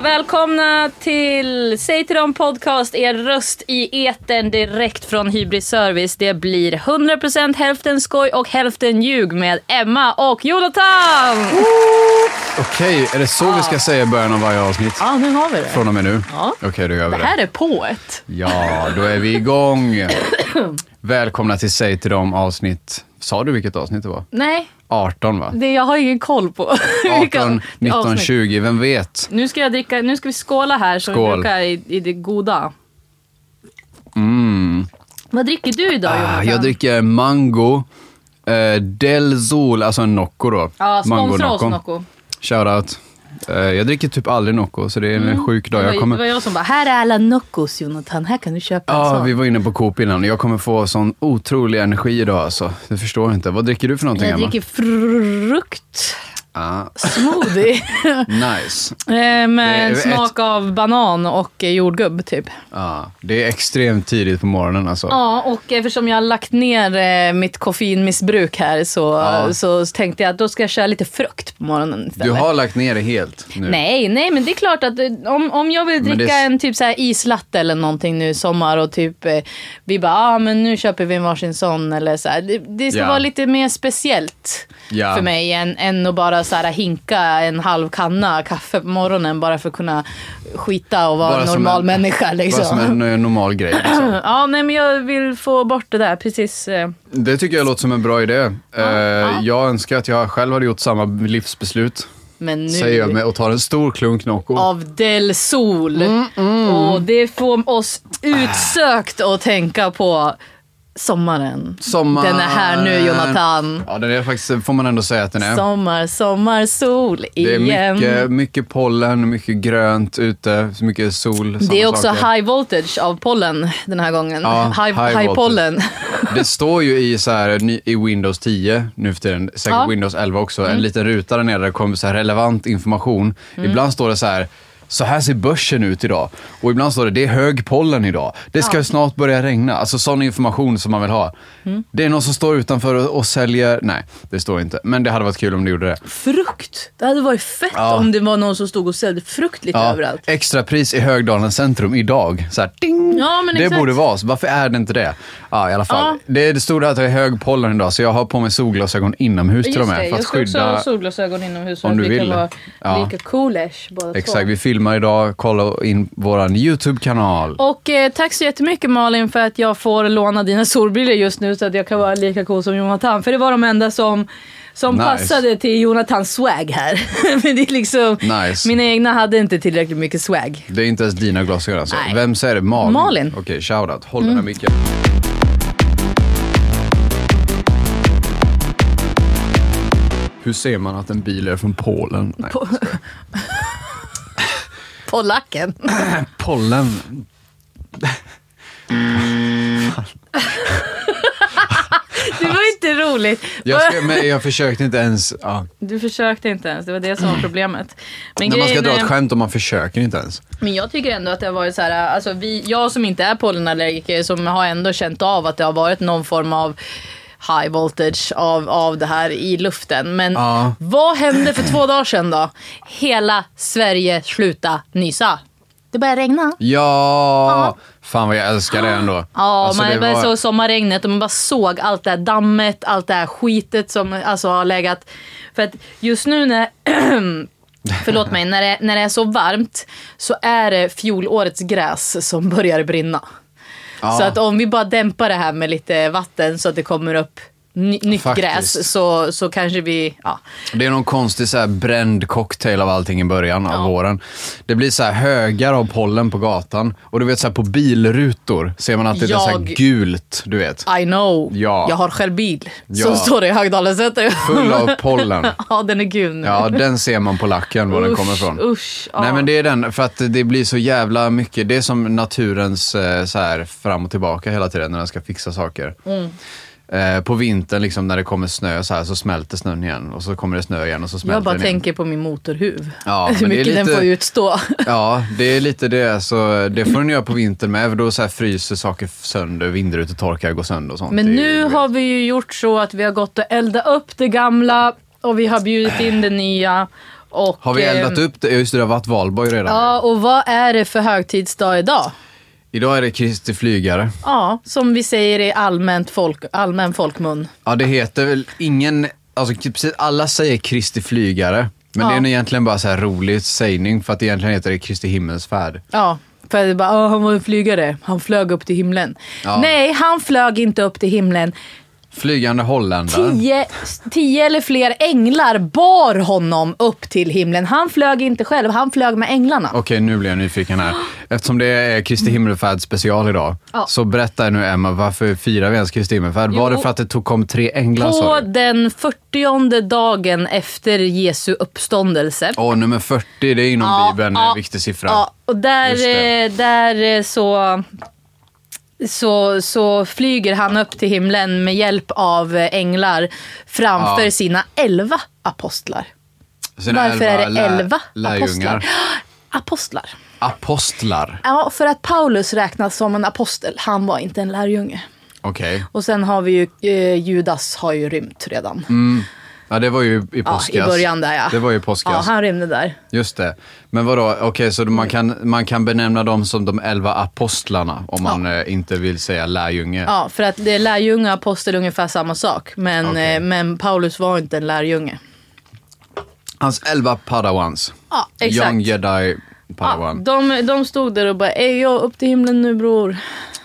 Välkomna till Säg till dem podcast, er röst i etern direkt från Hybris Service. Det blir 100% hälften skoj och hälften ljug med Emma och Jonathan! Okej, är det så vi ska säga i början av varje avsnitt? Ja, nu har vi det. Från och med nu? Ah. Ja. Okej, då gör vi Det det. här är pået. Ja, då är vi igång. Välkomna till Säg till dem avsnitt. Sa du vilket avsnitt det var? Nej, 18 va? det jag har ingen koll på. vilka 18, 19, avsnitt. 20, vem vet? Nu ska, jag dricka, nu ska vi skåla här som vi Skål. brukar i, i det goda. Mm. Vad dricker du idag Ah, Jonathan? jag dricker mango, eh, Del Sol, alltså en Nocco då. Ja, sponsra oss Mango-Nocco. Nocco. Shoutout. Eh, jag dricker typ aldrig Nocco, så det är en sjuk Mm. Det dag. var, Jag kommer... det var jag som bara, här är alla Noccos Jonathan, här kan du köpa en Ja, sån. vi var inne på Coop innan. Jag kommer få sån otrolig energi idag alltså. Det förstår jag inte. Vad dricker du för någonting, Jag Emma? dricker frukt Ah, smoothie nice. Eh, är med ett- smak av banan och eh, jordgubb typ. Ah, det är extremt tidigt på morgonen alltså. Ja, och eftersom jag har lagt ner eh, mitt koffeinmissbruk här så, Ja. så tänkte jag att då ska jag köra lite frukt på morgonen istället. du har lagt ner det helt nu. Nej, nej men det är klart att eh, om, om jag vill Men dricka det- en typ så här islatte eller någonting nu i sommar och typ eh, vi bara, ah, men nu köper vi en varsin sån eller så här. Det, det ska Ja. vara lite mer speciellt Ja. för mig än, än att bara så här, hinka en halv kanna kaffe på morgonen bara för att kunna skita och vara Bara en som normal en- människa Bara som liksom. en eh, normal grej. Liksom. Ja, nej men jag vill få bort det där precis. eh. Det tycker jag låter som en bra idé. Eh, Jag önskar att jag själv hade gjort samma livsbeslut. Men nu... Säger jag med, och tar en stor klunk Nocco. av Del Sol. Mm, Och det får oss utsökt att tänka på sommaren. Sommar. Den är här nu Jonathan. Ja, den är faktiskt, får man ändå säga att den är. Sommar, sommar, sol Det är igen. mycket, mycket pollen, mycket grönt ute, så mycket sol. Det är sådana också saker. high voltage av pollen den här gången. Ja, high, high high, voltage. pollen. Det står ju i, så här, ny- i Windows 10 nu för tiden, säkert Ja. Windows 11 också, en liten ruta där nere där det kommer så här relevant information. Ibland står det så här, så här ser börsen ut idag. Och ibland står det, det är hög pollen idag. Det ska snart börja regna. Alltså sån information som man vill ha. Det är någon som står utanför och, och säljer, nej det står inte. Men det hade varit kul om det gjorde det. Frukt. Det hade varit fett Ja. om det var någon som stod och sålde frukt lite överallt. Extrapris i Högdalens centrum idag. Så här, ding! Ja, men det exakt. borde vara så. Varför är det inte det? Ja, i alla fall. Ja. Det, det stod att jag är hög pollen idag, så jag har på mig solglasögon inomhus till och med. För att jag ska också ha skydda... solglasögon inomhus Om att du vi kan vill. vara Ja. lika coolish båda två. Exakt, vi filmar idag. Kolla in vår YouTube-kanal. Och eh, tack så jättemycket Malin för att jag får låna dina solbrillor just nu så att jag kan vara lika cool som Jonathan. För det var de enda som, som Nice. passade till Jonathans swag här. Men det är liksom, Nice. mina egna hade inte tillräckligt mycket swag. Det är inte ens dina glasögon alltså. Nej. Vem säger det? Malin? Malin. Mm. Okej, shoutout. Håll den här micken. Hur ser man att en bil är från Polen? Nej. På lacken. Pollen. Det var inte roligt. Jag, ska, men jag försökte inte ens. Ja. Du försökte inte ens, det var det som var problemet. Men, När man ska grejen dra är- ett skämt om man försöker inte ens. men jag tycker ändå att det har varit så här, alltså vi, jag som inte är pollenallergiker som har ändå känt av att det har varit någon form av high voltage av, av det här i luften. Men Ja. Vad hände för två dagar sedan då? Hela Sverige sluta nysa. Det började regna. Ja! Fan vad jag älskar det ändå. Ja, Alltså, man det bara var- såg sommarregnet och man bara såg allt det här dammet, allt det här skitet som alltså, har legat. För att just nu när, förlåt mig, när det, när det är så varmt så är det fjolårets gräs som börjar brinna. Ja. Så att om vi bara dämpar det här med lite vatten så att det kommer upp ny, nytt Faktiskt. gräs så, så kanske vi, ja. Det är någon konstig så här bränd cocktail av allting i början av våren. Det blir så här högar av pollen på gatan. Och du vet så här på bilrutor ser man alltid det är så Jag- här gult, du vet. I know. Ja. Jag har själv bil. Ja. Som står i Högdalen Center. Full av pollen. ja, den är gul nu. Ja, den ser man på lacken var den Usch, kommer ifrån. usch, ja. Nej men det är den, för att det blir så jävla mycket. Det är som naturens eh, så här fram och tillbaka hela tiden när den ska fixa saker. Mm. Eh, På vintern liksom när det kommer snö så här så smälter snön igen och så kommer det snö igen och så smälter Jag bara den igen. tänker på min motorhuv. Ja, Hur men det är mycket den lite- får utstå. Ja, det är lite det. Så det får den göra på vintern med. för Då så här fryser saker sönder, vindrutor torkar, går sönder och sånt. Men Det är ju- nu du vet. har vi ju gjort så att vi har gått och eldat upp det gamla och vi har bjudit in det nya. Och, Har vi eldat eh, upp det? Ja, Just det, det har varit valborg redan. Ja, och vad är det för högtidsdag idag? Idag är det Kristi flygare. Ja, som vi säger i allmänt folk, allmän folkmun. Ja, det heter väl ingen... Alltså, k- precis alla säger Kristi flygare. Men Ja. det är nog egentligen bara så här rolig sägning för att egentligen heter det Kristi himmelsfärd. Ja, för det bara, "Åh, han var en flygare. Han flög upp till himlen. Ja. Nej, han flög inte upp till himlen. Flygande holländare. Tio, tio eller fler änglar bar honom upp till himlen. Han flög inte själv, han flög med änglarna. Okej, nu blir jag nyfiken här. Eftersom det är Kristi himmelfärd special idag, Ja. så berätta nu Emma, varför firar vi ens Kristi himmelfärd? Var Jo. det för att det tog, kom tre änglar På sa du? den 40 dagen efter Jesu uppståndelse. Åh, nummer 40, det är inom Ja, Bibeln ja, en viktig siffra. Ja, och där, Just det. eh, där eh, så, så, så flyger han upp till himlen med hjälp av eh, änglar framför Ja. sina elva apostlar. Sen Varför är det lä- elva apostlar? lärjungar. Apostlar. Apostlar. Ja, för att Paulus räknas som en apostel. Han var inte en lärjunge. Okej. Och sen har vi ju, eh, Judas har ju rymt redan. Mm, Ja, det var ju i ja, påskas. I början där ja. Det var ju i påskas. Ja, han rymde där. Just det. Men vadå, okej så man kan, man kan benämna dem som de elva apostlarna om man eh, inte vill säga lärjunge. Ja, för att det är lärjunge och apostel är ungefär samma sak. Men, Okej. eh, men Paulus var inte en lärjunge. Hans elva padawans. Ja, exakt. Young jedi Ja, padawan. de, de stod där och bara ej jag upp till himlen nu bror.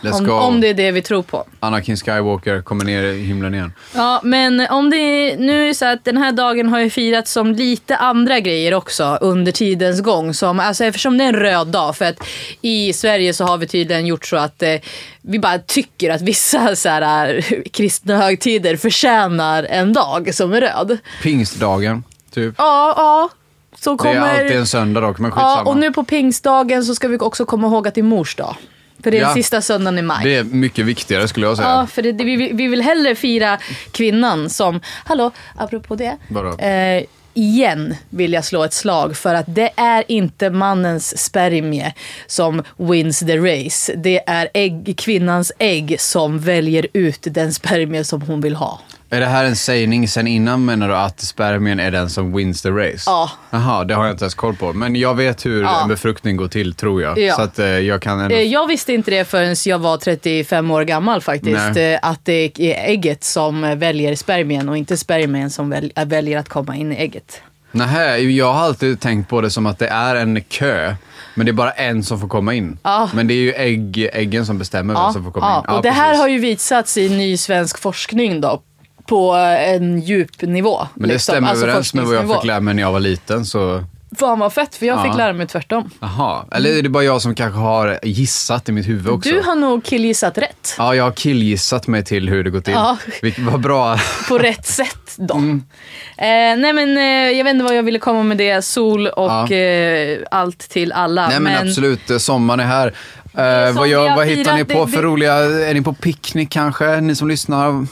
Let's Om, go. om det är det vi tror på. Anakin Skywalker kommer ner i himlen igen. Ja, men om det är, nu är det så att den här dagen har ju firats som lite andra grejer också under tidens gång. Som, alltså eftersom det är en röd dag, för att i Sverige så har vi tydligen gjort så att eh, vi bara tycker att vissa så här, eh, kristna högtider förtjänar en dag som är röd. Pingstdagen, typ. Ja, ja. Så Det kommer... är alltid en söndag dock, men skitsamma. ja, och nu på pingstdagen så ska vi också komma ihåg att det är mors dag. För det är Ja. den sista söndagen i maj. Det är mycket viktigare skulle jag säga. Ja, för det, det, vi, vi vill hellre fira kvinnan som, hallå, apropå det. Vadå? Eh, igen vill jag slå ett slag för att det är inte mannens spermie som wins the race. Det är ägg, kvinnans ägg som väljer ut den spermie som hon vill ha. Är det här en sägning sen innan menar du att spermien är den som wins the race? Ja. Jaha, det har jag inte ens koll på. Men jag vet hur Ja. en befruktning går till tror jag. Ja. Så att eh, jag kan ändå... Eh, Jag visste inte det förrän jag var 35 år gammal faktiskt. Nej. eh, Att det är ägget som väljer spermien och inte spermien som väl- eh, väljer att komma in i ägget. Nähä, jag har alltid tänkt på det som att det är en kö, men det är bara en som får komma in. Ja. Men det är ju ägg, äggen som bestämmer vem som får komma in. ja, och det här precis. har ju visats i ny svensk forskning då, på eh, en djup nivå. Men det liksom, stämmer alltså överens med vad jag forskningsnivå. fick lära mig när jag var liten. Så... Fan vad fett, för jag Ja. fick lära mig tvärtom. Aha. Eller är det bara jag som kanske har gissat i mitt huvud också? Du har nog killgissat rätt. Ja, jag har killgissat mig till hur det går till. Ja. Vilket var bra. På rätt sätt då. Mm. Eh, nej men eh, jag vet inte vad jag ville komma med det. Sol och Ja. eh, allt till alla. Nej men, absolut, eh, sommaren är här. Eh, är som vad vi gör, har vad hittar ni firat, på det- för det- roliga... Är ni på picknick kanske, ni som lyssnar? V-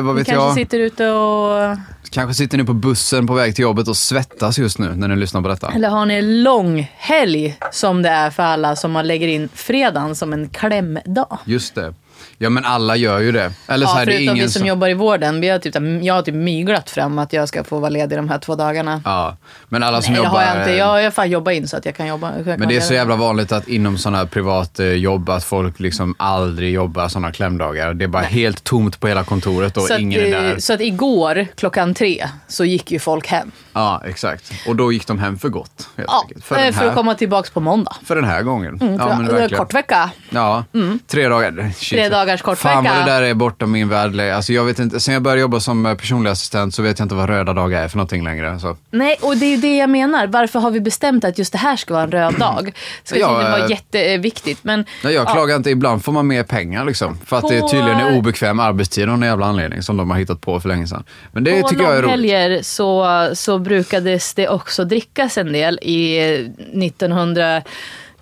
Vad vi vet kanske jag? sitter ute och... Kanske sitter ni på bussen på väg till jobbet och svettas just nu när ni lyssnar på detta. Eller har ni en lång helg som det är för alla som man lägger in fredagen som en klämdag? Just det. Ja men alla gör ju det. Eller så Ja, här, det är förutom ingen vi som som... jobbar i vården. Vi har typ, jag har typ myglat fram att jag ska få vara ledig de här två dagarna. Ja, men alla som Nej, det jobbar... har jag inte. Jag har fan jobbat in så att jag kan jobba. Jag kan Men det är vara så ledig. jävla vanligt att inom sådana här privatjobb att folk liksom aldrig jobbar sådana klämdagar. Det är bara helt tomt på hela kontoret och så att, ingen är eh, där. så att igår klockan tre så gick ju folk hem. Ja, exakt. Och då gick de hem för gott. Helt Ja, enkelt. för, För, den för här, att komma tillbaka på måndag. Eh, för den här gången. ja, men Det var en verkligen. kort vecka. Ja, tre dagar. Shit. Mm. Tre dagars kort Fan vad vecka. det där är bortom min värld. Alltså, jag vet inte, sen jag började jobba som eh, personlig assistent så vet jag inte vad röda dagar är för någonting längre. Så. Nej, och det är ju det jag menar. Varför har vi bestämt att just det här ska vara en röd dag? Det ska Mm. Ja, tydligen vara eh, jätteviktigt. Men, Nej, jag klagar inte. Ibland får man mer pengar liksom. För att det På- tydligen är obekväm arbetstid av någon jävla anledning som de har hittat på för länge sedan. Men det På tycker jag är roligt. långhelger så, så brukades det också drickas en del i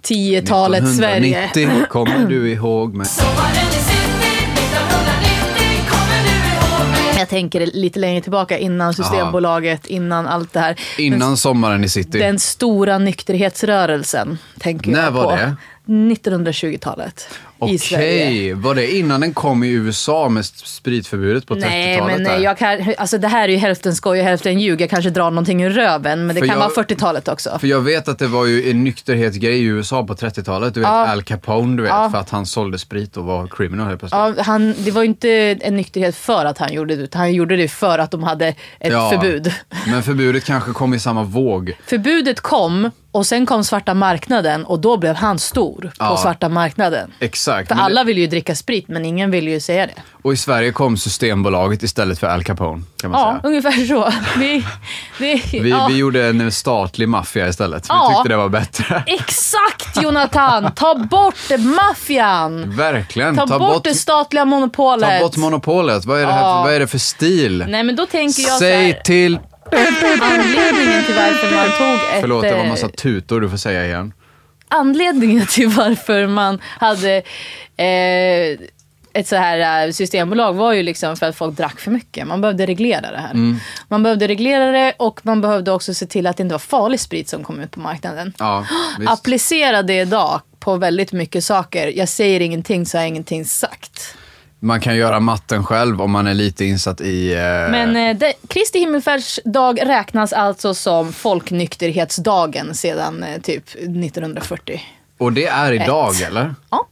1910-talets Sverige. 1990 kommer du ihåg mig. Sommaren i city 1990 kommer du ihåg mig? Jag tänker lite längre tillbaka innan Systembolaget, innan allt det här. Innan sommaren i city. Den, den stora nykterhetsrörelsen tänker När jag var på. det? 1920-talet. i Sverige. Okej, var det innan den kom i USA med s- spritförbudet på 30-talet? Nej, men där? eh, jag kan, alltså det här är ju hälften skoj och hälften ljug. Jag kanske drar någonting ur röven, men det För kan jag- vara 40-talet också. För jag vet att det var ju en nykterhetsgrej i USA på 30-talet. Du vet Ja. Al Capone, du vet. Ja. För att han sålde sprit och var criminal helt plötsligt. Ja, han, det var ju inte en nykterhet för att han gjorde det, utan han gjorde det för att de hade ett Ja. förbud. Men förbudet kanske kom i samma våg. Förbudet kom och sen kom svarta marknaden och då blev han stor på Ja. svarta marknaden. Exakt. För Men det- alla vill ju dricka sprit, men ingen vill ju säga det. Och i Sverige kom Systembolaget istället för Al Capone, kan man Ja, säga. ungefär så. Vi, vi, Vi, ja. vi gjorde en eh, statlig maffia istället. Vi Ja. tyckte det var bättre. Exakt Jonathan! Ta bort maffian! Verkligen. Ta, bort, det statliga monopolet. ta bort monopolet. Vad är det, här Ja. för, vad är det för stil? Nej men då tänker jag Säg så till... här, anledningen till varför man tog ett... Förlåt, det var en eh, massa tutor du får säga igen. Anledningen till varför man hade eh, ett så här eh, systembolag var ju liksom för att folk drack för mycket. Man behövde reglera det här. Mm. Man behövde reglera det och man behövde också se till att det inte var farlig sprit som kom ut på marknaden. Ja, visst. Applicera det idag på väldigt mycket saker. Jag säger ingenting så har jag ingenting sagt. Man kan göra matten själv om man är lite insatt i... Eh... Men eh, det, Kristi himmelfärdsdag räknas alltså som folknykterhetsdagen sedan eh, typ 1940. Och det är idag, Ett. eller? eh, Ja.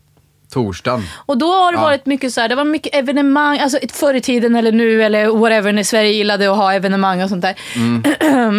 Torsdagen. Och då har det Ja. varit mycket så här, det var mycket evenemang, alltså ett förr i tiden eller nu eller whatever när Sverige gillade att ha evenemang och sånt där. Mm.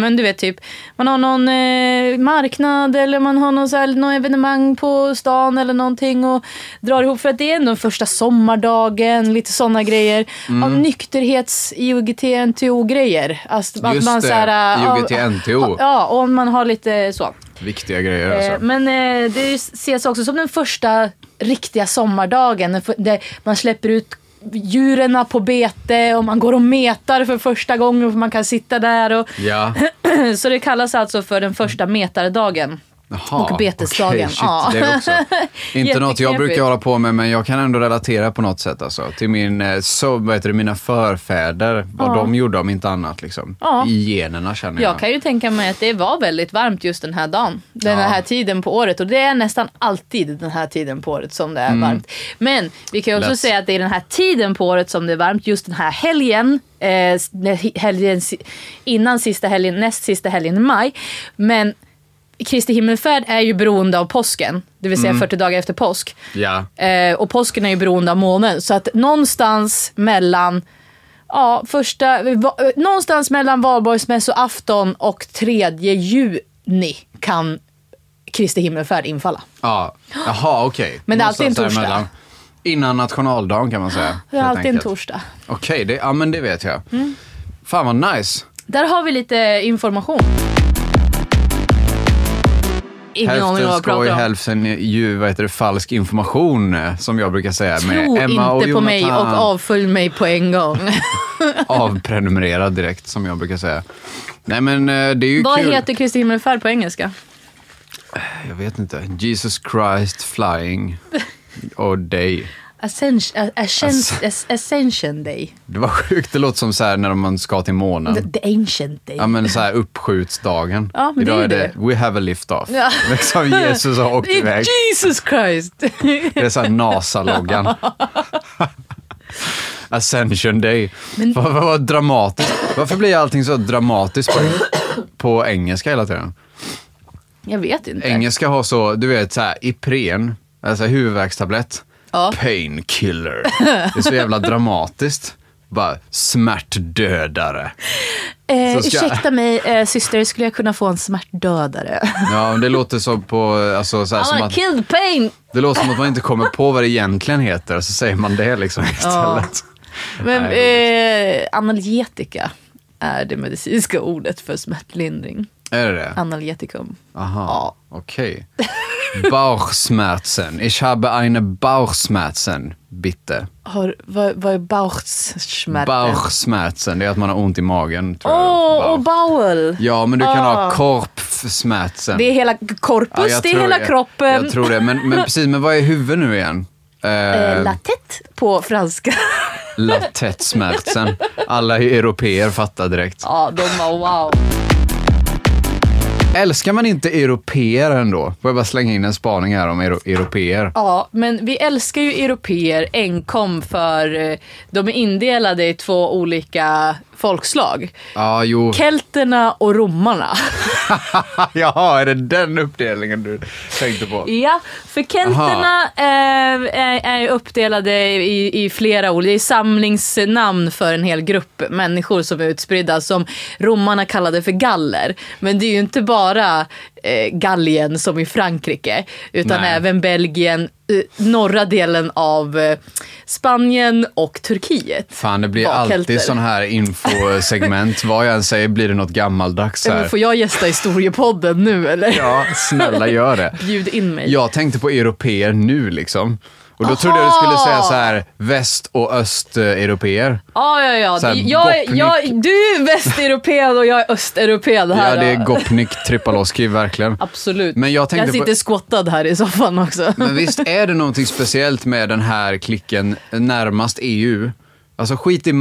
Men du vet typ, man har någon eh, marknad eller man har någon, så här, någon evenemang på stan eller någonting och drar ihop för att det är ändå första sommardagen, lite sådana grejer. Mm. Av nykterhets IOGT NTO-grejer. Alltså, att Just man det, så här, eh, IOGT NTO. Ja, och man har lite så. Viktiga grejer Eh, alltså. Men eh, det ses också som den första riktiga sommardagen. Den för- Där man släpper ut djuren på bete och man går och metar för första gången för man kan sitta där. Och, Ja. så det kallas alltså för den första metardagen. Jaha, Och betesdagen, okej, shit, ja. det är också. Inte något jag brukar Jätteknepigt. hålla på med, men jag kan ändå relatera på något sätt. Alltså, till min, eh, så, vad heter det, mina förfäder, vad Ja. de gjorde om inte annat. Liksom. Ja. I generna känner jag. Jag kan ju tänka mig att det var väldigt varmt just den här dagen. Den Ja. här tiden på året. Och det är nästan alltid den här tiden på året som det är varmt. Men vi kan ju också Mm. Lätt. säga att det är den här tiden på året som det är varmt. Just den här helgen. Eh, när helgen si- innan sista helgen, näst sista helgen i maj. Men Kristi himmelfärd är ju beroende av påsken. Det vill säga Mm. 40 dagar efter påsk. Ja. Eh, och påsken är ju beroende av månen. Så att någonstans mellan Ja, första, va, eh, någonstans mellan valborgsmässoafton och 3 juni kan Kristi himmelfärd infalla. Ja, jaha okej. Men det är alltid en Någonstans torsdag. däremellan. Innan nationaldagen kan man säga. Det är helt alltid en enkelt. torsdag. Okej, det- ja men det vet jag. Mm. Fan vad nice. Där har vi lite information. Ingen aning Hälften vad jag skoj, pratar om. hälften ju, vad heter det, falsk information eh, som jag brukar säga Tro med Emma och inte på Jonathan. mig och avfölj mig på en gång. Avprenumerera direkt som jag brukar säga. Nej men eh, det är ju vad kul. heter Kristi himmelfärd på engelska? Jag vet inte. Jesus Christ flying. Och day. Ascension, a- ascens- as- ascension day. Det var sjukt, det låter som så här när man ska till The, månen. the ancient day. Ja men så här uppskjutsdagen. Ja, men det Idag är ju We have a lift off. Ja. Liksom Jesus har åkt iväg. Jesus Christ! Det är så här NASA-loggan. Ascension day. Vad, vad, vad dramatiskt. Varför blir allting så dramatiskt på, på engelska hela tiden? Jag vet inte. Engelska har så, du vet så här, Ipren, alltså huvudvärkstablett. Ja. Painkiller. Det är så jävla dramatiskt. Bara smärtdödare. Eh, Så ska- Ursäkta mig, eh, syster, skulle jag kunna få en smärtdödare? Ja, men det låter som på, alltså så här, som I'm att, killed pain! det låter som att man inte kommer på vad det egentligen heter, så säger man det liksom istället. Men, Nej, eh, analgetika är det medicinska ordet för smärtlindring. Är det det? Analgetikum. Aha, Ja. okej. Bauchschmerzen. Ich habe eine Bauchschmerzen, bitte. Har, vad, vad är Bauchschmerzen? Bauchschmerzen, det är att man har ont i magen. Tror jag. Åh, och Bauch. bowel! Ja, men du kan Ah. ha korpschmerzen. Det är hela korpus, det är hela kroppen. Jag, jag tror det, men, men precis, men vad är huvud nu igen? Eh, eh, latett på franska. Latettsmärtsen. Alla europeer fattar direkt. ja, de var wow. Älskar man inte europeer ändå? Får jag bara slänga in en spaning här om euro- europeer? Ja, men vi älskar ju europeer enkom för eh, de är indelade i två olika folkslag. Ja, jo. Kelterna och romarna. Jaha, är det den uppdelningen du tänkte på? Ja, för kelterna eh, är, är ju uppdelade i, i flera olika, det är samlingsnamn för en hel grupp människor som är utspridda som romarna kallade för galler. Men det är ju inte bara eh, Gallien som i Frankrike utan Nej. även Belgien, eh, norra delen av eh, Spanien och Turkiet. Fan, det blir var kelter. alltid sån här infosegment. Vad jag än säger blir det något gammaldags Men här. Får jag gästa historiepodden nu eller? Ja, snälla gör det. Bjud in mig. Jag tänkte på europeer nu liksom. Och då Aha! trodde jag du skulle säga så här väst och östeuropeer. Ja, ja, ja. Så här, jag, är- jag, du är västeuropén och jag är östeuropén här. Ja, det är då. Gopnik Tripaloski, verkligen. Absolut. Men jag tänkte jag sitter på- skottad här i soffan också. Men visst är det någonting speciellt med den här klicken närmast EU? Alltså skit i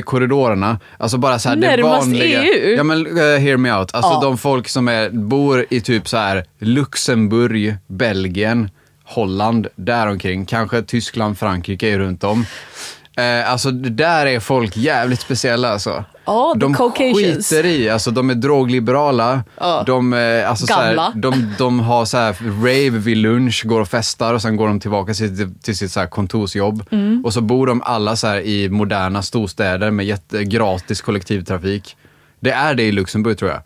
maktkorridorerna. Alltså bara så här det Närmast vanliga. EU? Ja men eh, hear me out. Alltså Ja. de folk som är, bor i typ så här Luxemburg, Belgien, Holland, däromkring. Kanske Tyskland, Frankrike är runt om. Eh, alltså det där är folk jävligt speciella alltså. Ja, the de Caucasians. skiter i, alltså de är drogliberala. Ja. De, eh, alltså, så Gamla. här, de, de har så här rave vid lunch, går och festar och sen går de tillbaka till, till sitt så här kontorsjobb. Och så bor de alla så här i moderna storstäder med jätte, gratis kollektivtrafik. Det är det i Luxemburg tror jag.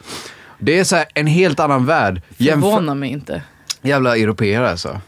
Det är så här en helt annan värld. Jämför, Förvånar mig inte. jävla europeer alltså.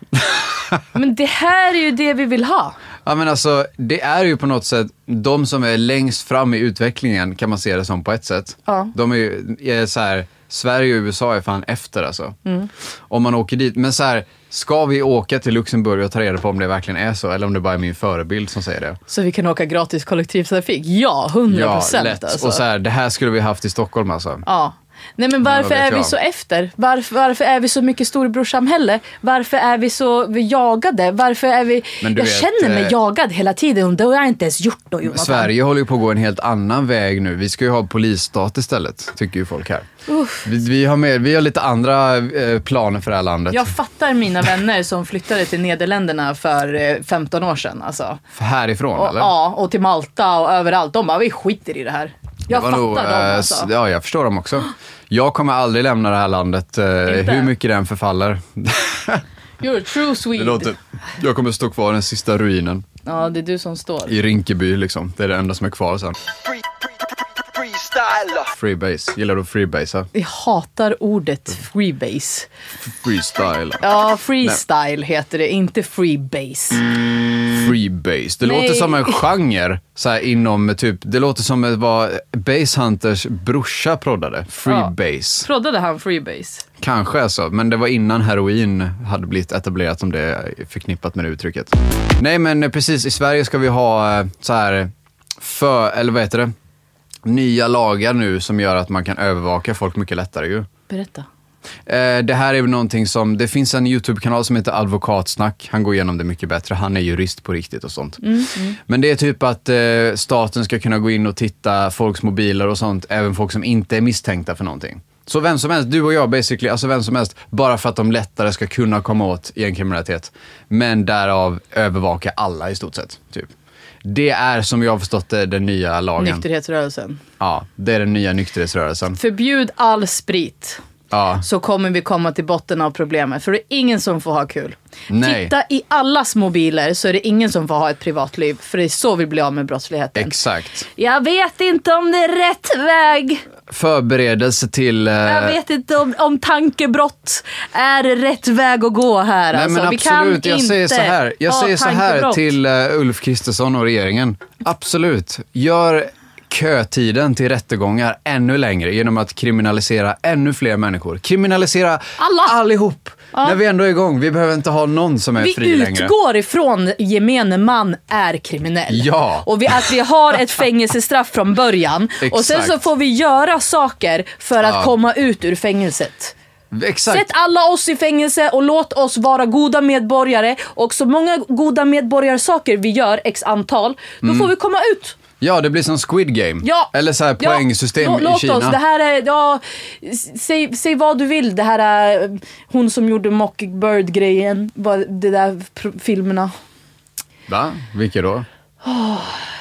Men det här är ju det vi vill ha. Ja, men alltså, det är ju på något sätt, de som är längst fram i utvecklingen kan man se det som på ett sätt. Ja. De är ju är så här, Sverige och USA är fan efter alltså. Mm. Om man åker dit. Men så här, ska vi åka till Luxemburg och ta reda på om det verkligen är så eller om det bara är min förebild som säger det? Så vi kan åka gratis kollektivtrafik. Ja, 100 procent alltså. Och så här, det här skulle vi haft i Stockholm alltså. Ja. Nej men varför vad vet är vi jag? så efter? Varför, varför är vi så mycket storebrorssamhälle? Varför är vi så vi jagade? Varför är vi... Men Jag du vet, känner mig eh, jagad hela tiden och det har jag inte ens gjort då Jonathan. Sverige håller ju på att gå en helt annan väg nu. Vi ska ju ha polisstat istället, tycker ju folk här. Vi, vi, har med, vi har lite andra eh, planer för det här landet. Jag fattar mina vänner som flyttade till Nederländerna för eh, 15 år sedan. Alltså. Härifrån Och, eller? ja, och till Malta och överallt. De bara, vi skiter i det här. Jag Det var fattar nog, dem eh, alltså. s- Ja, jag förstår dem också. Jag kommer aldrig lämna det här landet, eh, hur mycket den förfaller. You're a true Swede. Det låter, jag kommer stå kvar i den sista ruinen Ja, det är du som står. i Rinkeby liksom. Det är det enda som är kvar sen. free, free, free, freestyler. Freebase. Gillar du att freebasa? Jag hatar ordet freebase. Freestyle. Ja, freestyle heter det, inte freebase. Mm. Freebase. Det Nej. låter som en genre så här inom typ, det låter som det var Basehunters brorsa proddade. Freebase. Proddade han freebase? Kanske alltså, men det var innan heroin hade blivit etablerat som det är förknippat med det uttrycket. Nej men eh, precis, i Sverige ska vi ha eh, så här, för, eller vad heter det? Nya lagar nu som gör att man kan övervaka folk mycket lättare ju. Berätta. Eh, Det här är väl någonting som, det finns en YouTube-kanal som heter Advokatsnack. Han går igenom det mycket bättre. Han är jurist på riktigt och sånt. Men det är typ att eh, staten ska kunna gå in och titta folks mobiler och sånt, även folk som inte är misstänkta för någonting. Så vem som helst, du och jag basically, alltså vem som helst, bara för att de lättare ska kunna komma åt gängkriminalitet. Men därav övervaka alla i stort sett. Typ. Det är som jag har förstått det, den nya lagen. Nykterhetsrörelsen. Ja, det är den nya nykterhetsrörelsen. Förbjud all sprit. Ja. så kommer vi komma till botten av problemet. För det är ingen som får ha kul. Nej. Titta i allas mobiler så är det ingen som får ha ett privatliv. För det är så vi blir av med brottsligheten. Exakt. jag vet inte om det är rätt väg. Förberedelse till... eh, Jag vet inte om, om tankebrott är rätt väg att gå här. Nej alltså. men vi kan absolut, jag inte säger så här, jag ha säger så här tankebrott. till eh, Ulf Kristersson och regeringen. Absolut, gör kötiden till rättegångar ännu längre genom att kriminalisera ännu fler människor. Kriminalisera Alla. allihop! När vi ändå är igång, vi behöver inte ha någon som är Vi fri längre. utgår ifrån gemene man är kriminell. Ja. Och vi, att vi har ett fängelsestraff från början. Och sen så Exakt. får vi göra saker för att Ja. komma ut ur fängelset. Exakt. Sätt alla oss i fängelse och låt oss vara goda Mm. medborgare. Och så många goda medborgarsaker vi gör, x antal, då får vi komma ut. Ja, det blir som Squid Game. Ja. Eller så här Ja. poängsystem Lå- i låt Kina. Oss. Det här är, ja, s- säg, säg vad du vill. Det här är eh, hon som gjorde Mockingbird-grejen. Vad det där pr- filmerna. Va? Vilka då?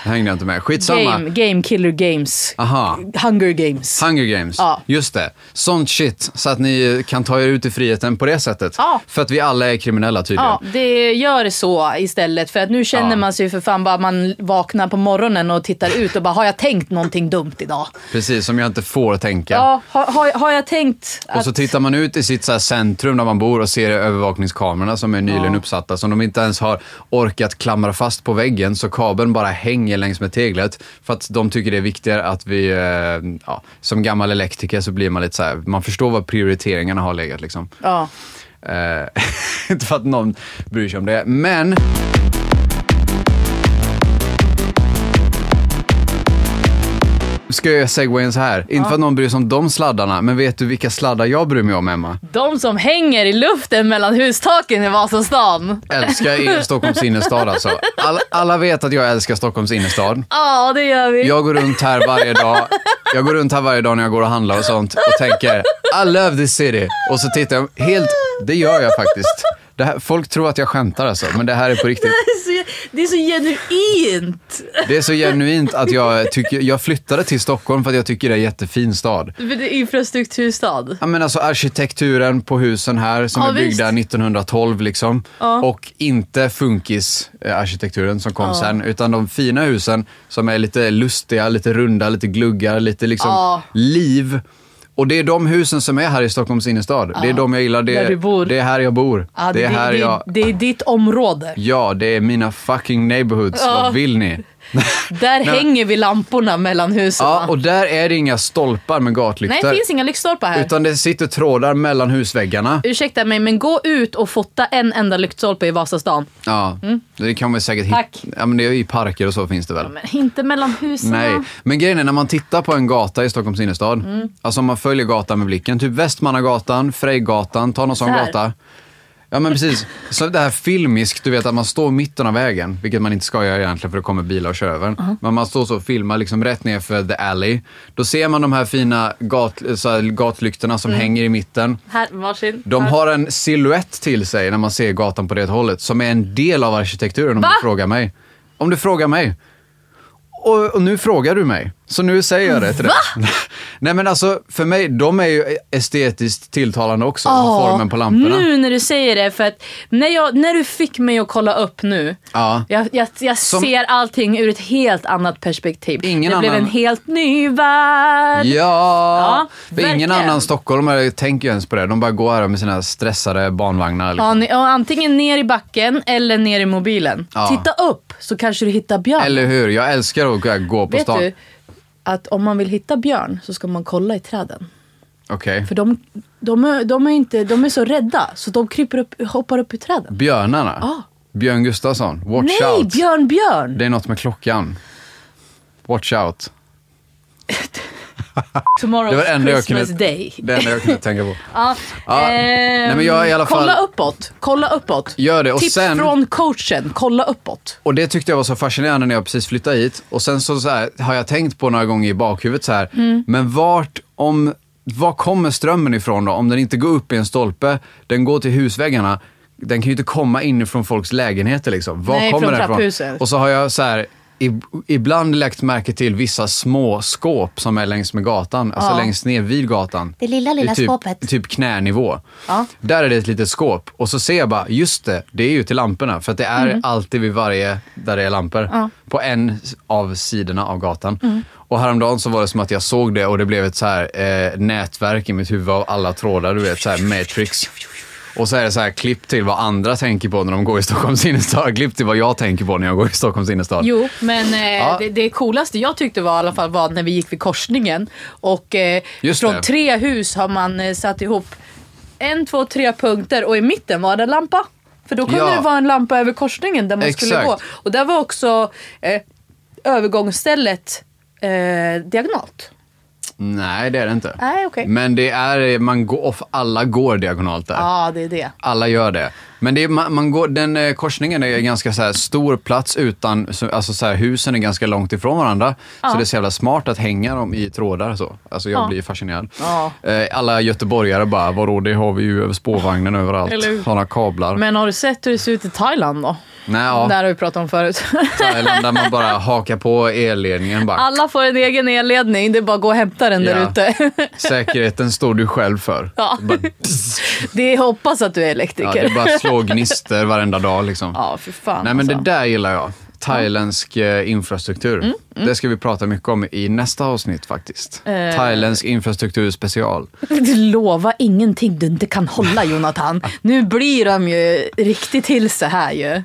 Hängde jag inte med. Skitsamma. Game, game Killer Games. Aha. Hunger Games. Hunger Games. Ja. Just det. Sånt shit. Så att ni kan ta er ut i friheten på det sättet. Ja. För att vi alla är kriminella tydligen. Ja, det gör så istället. För att nu känner Ja. man sig för fan bara man vaknar på morgonen och tittar ut och bara har jag tänkt någonting dumt idag? Precis, som jag inte får tänka. Ja, har, har, har jag tänkt Och att... så tittar man ut i sitt så här centrum där man bor och ser övervakningskamerorna som är nyligen uppsatta som de inte ens har orkat klamra fast på väggen så kabeln bara hänger längs med teglet för att de tycker det är viktigare att vi, eh, ja, som gammal elektriker så blir man lite så här, man förstår vad prioriteringarna har legat liksom. Ja. Eh, inte för att någon bryr sig om det, men Ska jag segwa in så här? Inte för att någon bryr sig om de sladdarna, men vet du vilka sladdar jag bryr mig om, Emma? De som hänger i luften mellan hustaken i Vasastan. Älskar er Stockholms innerstad alltså. All, alla vet att jag älskar Stockholms innerstad. Ja, det gör vi. Jag går runt här varje dag. Jag går runt här varje dag när jag går och handlar och sånt och tänker I love this city. Och så tittar jag helt, det gör jag faktiskt. Det här, folk tror att jag skämtar alltså, men det här är på riktigt. Det är så, det är så genuint. Det är så genuint att jag tycker, jag flyttade till Stockholm för att jag tycker det är en jättefin stad. För det är Infrastrukturstad. Ja men alltså arkitekturen på husen här som Ja, är byggda visst. 1912 liksom. Ja. Och inte funkisarkitekturen som kom sen. Utan de fina husen som är lite lustiga, lite runda, lite gluggar, lite liksom Ja. liv. Och det är de husen som är här i Stockholms innerstad. Det är de jag gillar. Det, Där du bor. det är här jag bor. Ja, det är här det, jag... det är ditt område. Ja, det är mina fucking neighborhoods. Ja. Vad vill ni? Där hänger vi lamporna mellan husen. Ja, och där är det inga stolpar med Nej, gatlyktor. det finns inga lyktstolpar här. Mm. Utan det sitter trådar mellan husväggarna. Ursäkta mig, men gå ut och fota en enda lyktstolpe i Vasastan. Ja, det kan man säkert Tack. hitta. Ja, men det är ju i parker och så finns det väl. Men inte mellan husen. Nej, men grejen är när man tittar på en gata i Stockholms innerstad, alltså om man följer gatan med blicken, typ Västmannagatan, Frejgatan, ta någon sån här. gata. Ja men precis, så det här filmiskt, du vet att man står mitten av vägen, vilket man inte ska göra egentligen för det kommer bilar och kör över en. Men man står så och filmar liksom rätt ner för the alley. Då ser man de här fina gat, så här, gatlyktorna som hänger i mitten. Här, varsin. De här. har en silhuett till sig när man ser gatan på det hållet som är en del av arkitekturen om Va? du frågar mig. Om du frågar mig. Och, och nu frågar du mig. Så nu säger jag det till dig. Nej men alltså för mig, de är ju estetiskt tilltalande också. Ja, Mm. Formen på lamporna. Nu när du säger det, för att när, jag, när du fick mig att kolla upp nu. Ja. Jag, jag, jag Som- ser allting ur ett helt annat perspektiv. Ingen det blev annan- en helt ny värld. Ja, för ingen verkligen. annan stockholmare tänker ju ens på det. De bara går här med sina stressade barnvagnar. Liksom. Ja, ni- ja, antingen ner i backen eller ner i mobilen. Ja. Titta upp så kanske du hittar björn. Eller hur? Jag älskar att gå på Vet stan. du att om man vill hitta björn så ska man kolla i träden. Okej. För de, de, är, de, är, inte, de är så rädda så de kryper upp, hoppar upp i träden. Björnarna. Ja. Björn Gustafsson. Watch Nej, out. björn, björn! Det är något med klockan. Watch out. Tomorrow's Det var det enda jag Christmas kunde, day. det enda jag kunde tänka på. Ja, Ja, ehm, nej, men jag i alla fall- Kolla uppåt. Kolla uppåt. Gör det, och Tips sen- från coachen. Kolla uppåt. Och det tyckte jag var så fascinerande när jag precis flyttade hit. Och sen så, så här, har jag tänkt på några gånger i bakhuvudet så här, Mm. men vart, om, var kommer strömmen ifrån då? Om den inte går upp i en stolpe, den går till husväggarna. Den kan ju inte komma inifrån folks lägenheter liksom. Var Nej, kommer från den ifrån? trapphuset. Och så har jag så här, ib- ibland lagt märke till vissa små skåp som är längs med gatan, alltså Ja. längst ner vid gatan. Det lilla, är lilla typ, skåpet. Typ knänivå. Ja. Där är det ett litet skåp och så ser jag bara, just det, det är ju till lamporna. För att det Mm. är alltid vid varje, där det är lampor. På en av sidorna av gatan. Mm. Och häromdagen så var det som att jag såg det och det blev ett så här eh, nätverk i mitt huvud av alla trådar, du vet, så här matrix. Och så är det så här klipp till vad andra tänker på när de går i Stockholms innerstad. Klipp till vad jag tänker på när jag går i Stockholms innerstad. Jo, men eh, Ja. det, det coolaste jag tyckte var i alla fall var när vi gick vid korsningen. Och eh, Just från det. tre hus har man eh, satt ihop en, två, tre punkter och i mitten var det en lampa. För då kunde Ja. det vara en lampa över korsningen där man skulle Exakt. gå. Och där var också eh, övergångsstället eh, diagonalt. Nej, det är det inte. Nej, okej. Men det är, man går, off, alla går diagonalt där. Ja, det är det. Alla gör det. Men det är, man, man går, den eh, korsningen är ganska så här stor plats utan, så- alltså så här, husen är ganska långt ifrån varandra. Så det är så jävla smart att hänga dem i trådar så. Alltså jag Ja. blir fascinerad. Ja. Eh, Alla göteborgare bara, vadå det har vi ju över spårvagnen överallt. Eller hur? Sådana kablar. Men har du sett hur det ser ut i Thailand då? Nej, Det här ja. har vi pratat om förut. Thailand där man bara hakar på elledningen bara. Alla får en egen elledning, det är bara att gå och hämta den där Ja. ute. Säkerheten står du själv för. Ja. Bara, Det är hoppas att du är ja, det elektriker. är bara slå gnister varenda dag liksom. Ja, för fan Nej, men alltså. Mm, det där gillar jag. Thailändsk eh, infrastruktur. Det ska vi prata mycket om i nästa avsnitt faktiskt. Eh. Thailändsk infrastruktur special. Lova ingenting du inte kan hålla Jonathan. Nu blir de ju riktigt till sig här ju.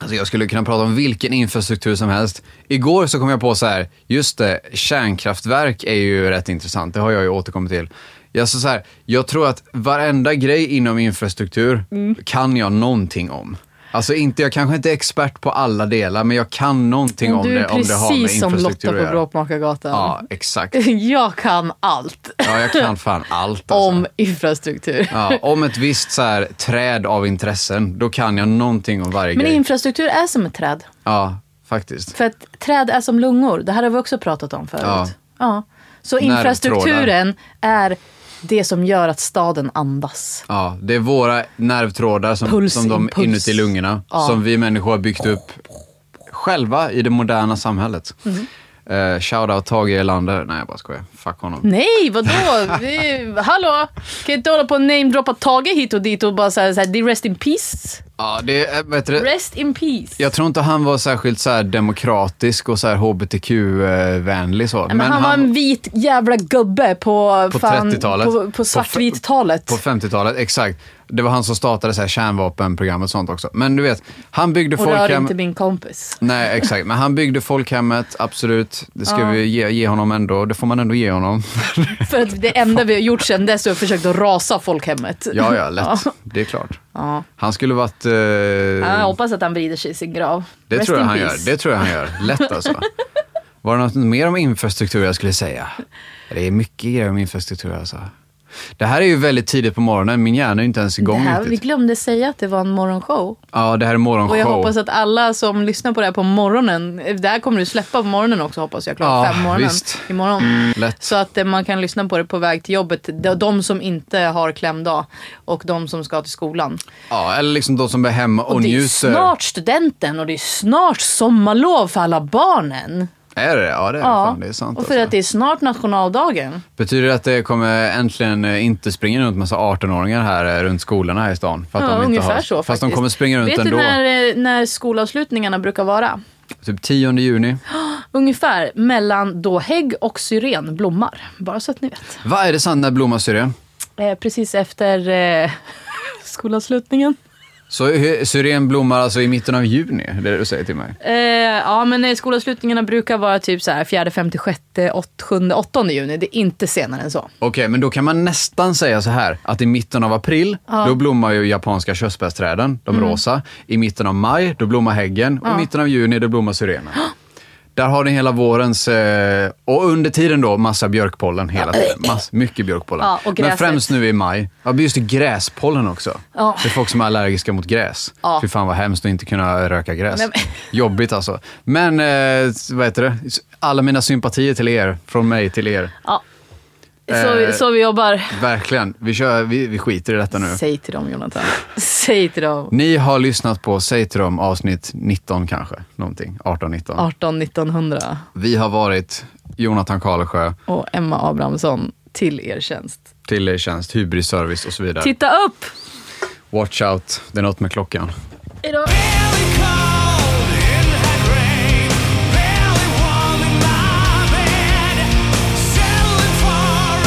Alltså jag skulle kunna prata om vilken infrastruktur som helst. Igår så kom jag på så här, just det, kärnkraftverk är ju rätt intressant. Det har jag ju återkommit till. Jag, så så här, jag tror att varenda grej inom infrastruktur kan jag någonting om. Alltså inte, jag kanske inte är expert på alla delar, men jag kan någonting om du det, är om det har med precis som Lotta infrastruktur på att göra. Bråkmakargatan. Ja, exakt. Jag kan allt Ja, jag kan fan allt. Alltså. om infrastruktur. Ja, om ett visst så här, träd av intressen, då kan jag någonting om varje Men grej. infrastruktur är som ett träd. Ja, faktiskt. För att träd är som lungor. Det här har vi också pratat om förut. Ja. Ja. Så Nervtrådar. infrastrukturen är det som gör att staden andas. Ja, det är våra nervtrådar som, Puls, som de impuls. inuti lungorna, Ja. som vi människor har byggt upp själva i det moderna samhället. Mhm. Eh, Shoutout Tage Erlander. Nej, jag bara skojar. Fuck honom. Nej, vadå? Vi, hallå? Kan inte hålla på och namedroppa Tage hit och dit och bara säga så här, "Det är rest in peace. Ja, det är, eh, vet du, det- Rest in peace. jag tror inte han var särskilt så här demokratisk och så här hbtq-vänlig så. Nej, men han, var en vit jävla gubbe på, På fan- 30-talet. På, På på svartvit-talet. På 50-talet, exakt. Det var han som startade så här kärnvapenprogrammet och sånt också. Men du vet, han byggde och rör folkhem... inte min kompis. Nej, exakt. Men han byggde folkhemmet, absolut. Det ska vi ge, ge honom ändå. Det får man ändå ge honom. För att det enda vi har gjort sedan dess är att försöka rasa folkhemmet. ja, ja, lätt. Det är klart. Ja. Han skulle varit... eh, Ja, Jag hoppas att han vrider sig i sin grav. det Rest tror jag in han gör. peace. Det tror jag han gör. Lätt alltså. Var det något mer om infrastruktur jag skulle säga? Det är mycket grejer om infrastruktur alltså. Det här är ju väldigt tidigt på morgonen. Min hjärna är inte ens det igång här, vi riktigt. glömde säga att det var en morgonshow. Ja, det här är morgonshow. Och jag hoppas att alla som lyssnar på det här på morgonen, det här kommer du släppa på morgonen också hoppas jag, klockan Ja, fem på morgonen visst. imorgon. Lätt. Så att eh, man kan lyssna på det på väg till jobbet, de, de som inte har klämdag och de som ska till skolan. Ja, eller liksom de som är hemma och, Och det är njuter. snart studenten och det är snart sommarlov för alla barnen. Är det det? Ja, det är, det. Fan, det är sant. och för alltså. att det är snart nationaldagen. Betyder det att det kommer äntligen eh, inte springa runt massa 18-åringar här eh, runt skolorna här i stan? För att Ja, de inte ungefär har... så Fast faktiskt. de kommer springa runt Vet ändå. du när, eh, när skolavslutningarna brukar vara? Typ 10 juni. Ungefär mellan då hägg och syren blommar. Bara så att ni vet. Vad är det sant när blommar syren? Eh, precis efter eh, skolavslutningen. Så hy- syren blommar alltså i mitten av juni? Det är det du säger till mig. Eh, ja, men eh, skolavslutningarna brukar vara typ så här 4, 5, 6, 8, 7, 8 juni. Det är inte senare än så. Okej, men då kan man nästan säga så här att i mitten av april, då blommar ju japanska körsbärsträden, de Mm. rosa. I mitten av maj, då blommar häggen. Och i mitten av juni, då blommar syrenen. Där har ni hela vårens... Eh, och under tiden då, massa björkpollen hela tiden. Mass, mycket björkpollen. Ja, och Men gräset. främst nu i maj. Ja, men just det, gräspollen också. Ja. Det är folk som är allergiska mot gräs. Ja. Fy fan vad hemskt att inte kunna röka gräs. Nej, men- Jobbigt alltså. Men, eh, vad heter det? Alla mina sympatier till er. Från mig till er. Ja. Så, vi- Eh, så vi jobbar. Verkligen. Vi, kör, vi, vi skiter i detta nu. Mm. Säg till dem Jonathan. Säg till dem. Ni har lyssnat på Säg till dem avsnitt 19 kanske. Någonting. 18-19. 18 1900 Vi har varit Jonathan Karlsjö, och Emma Abrahamsson till er tjänst. till er tjänst, hybris service och så vidare. Titta upp! Watch out. Det är något med klockan. Hejdå!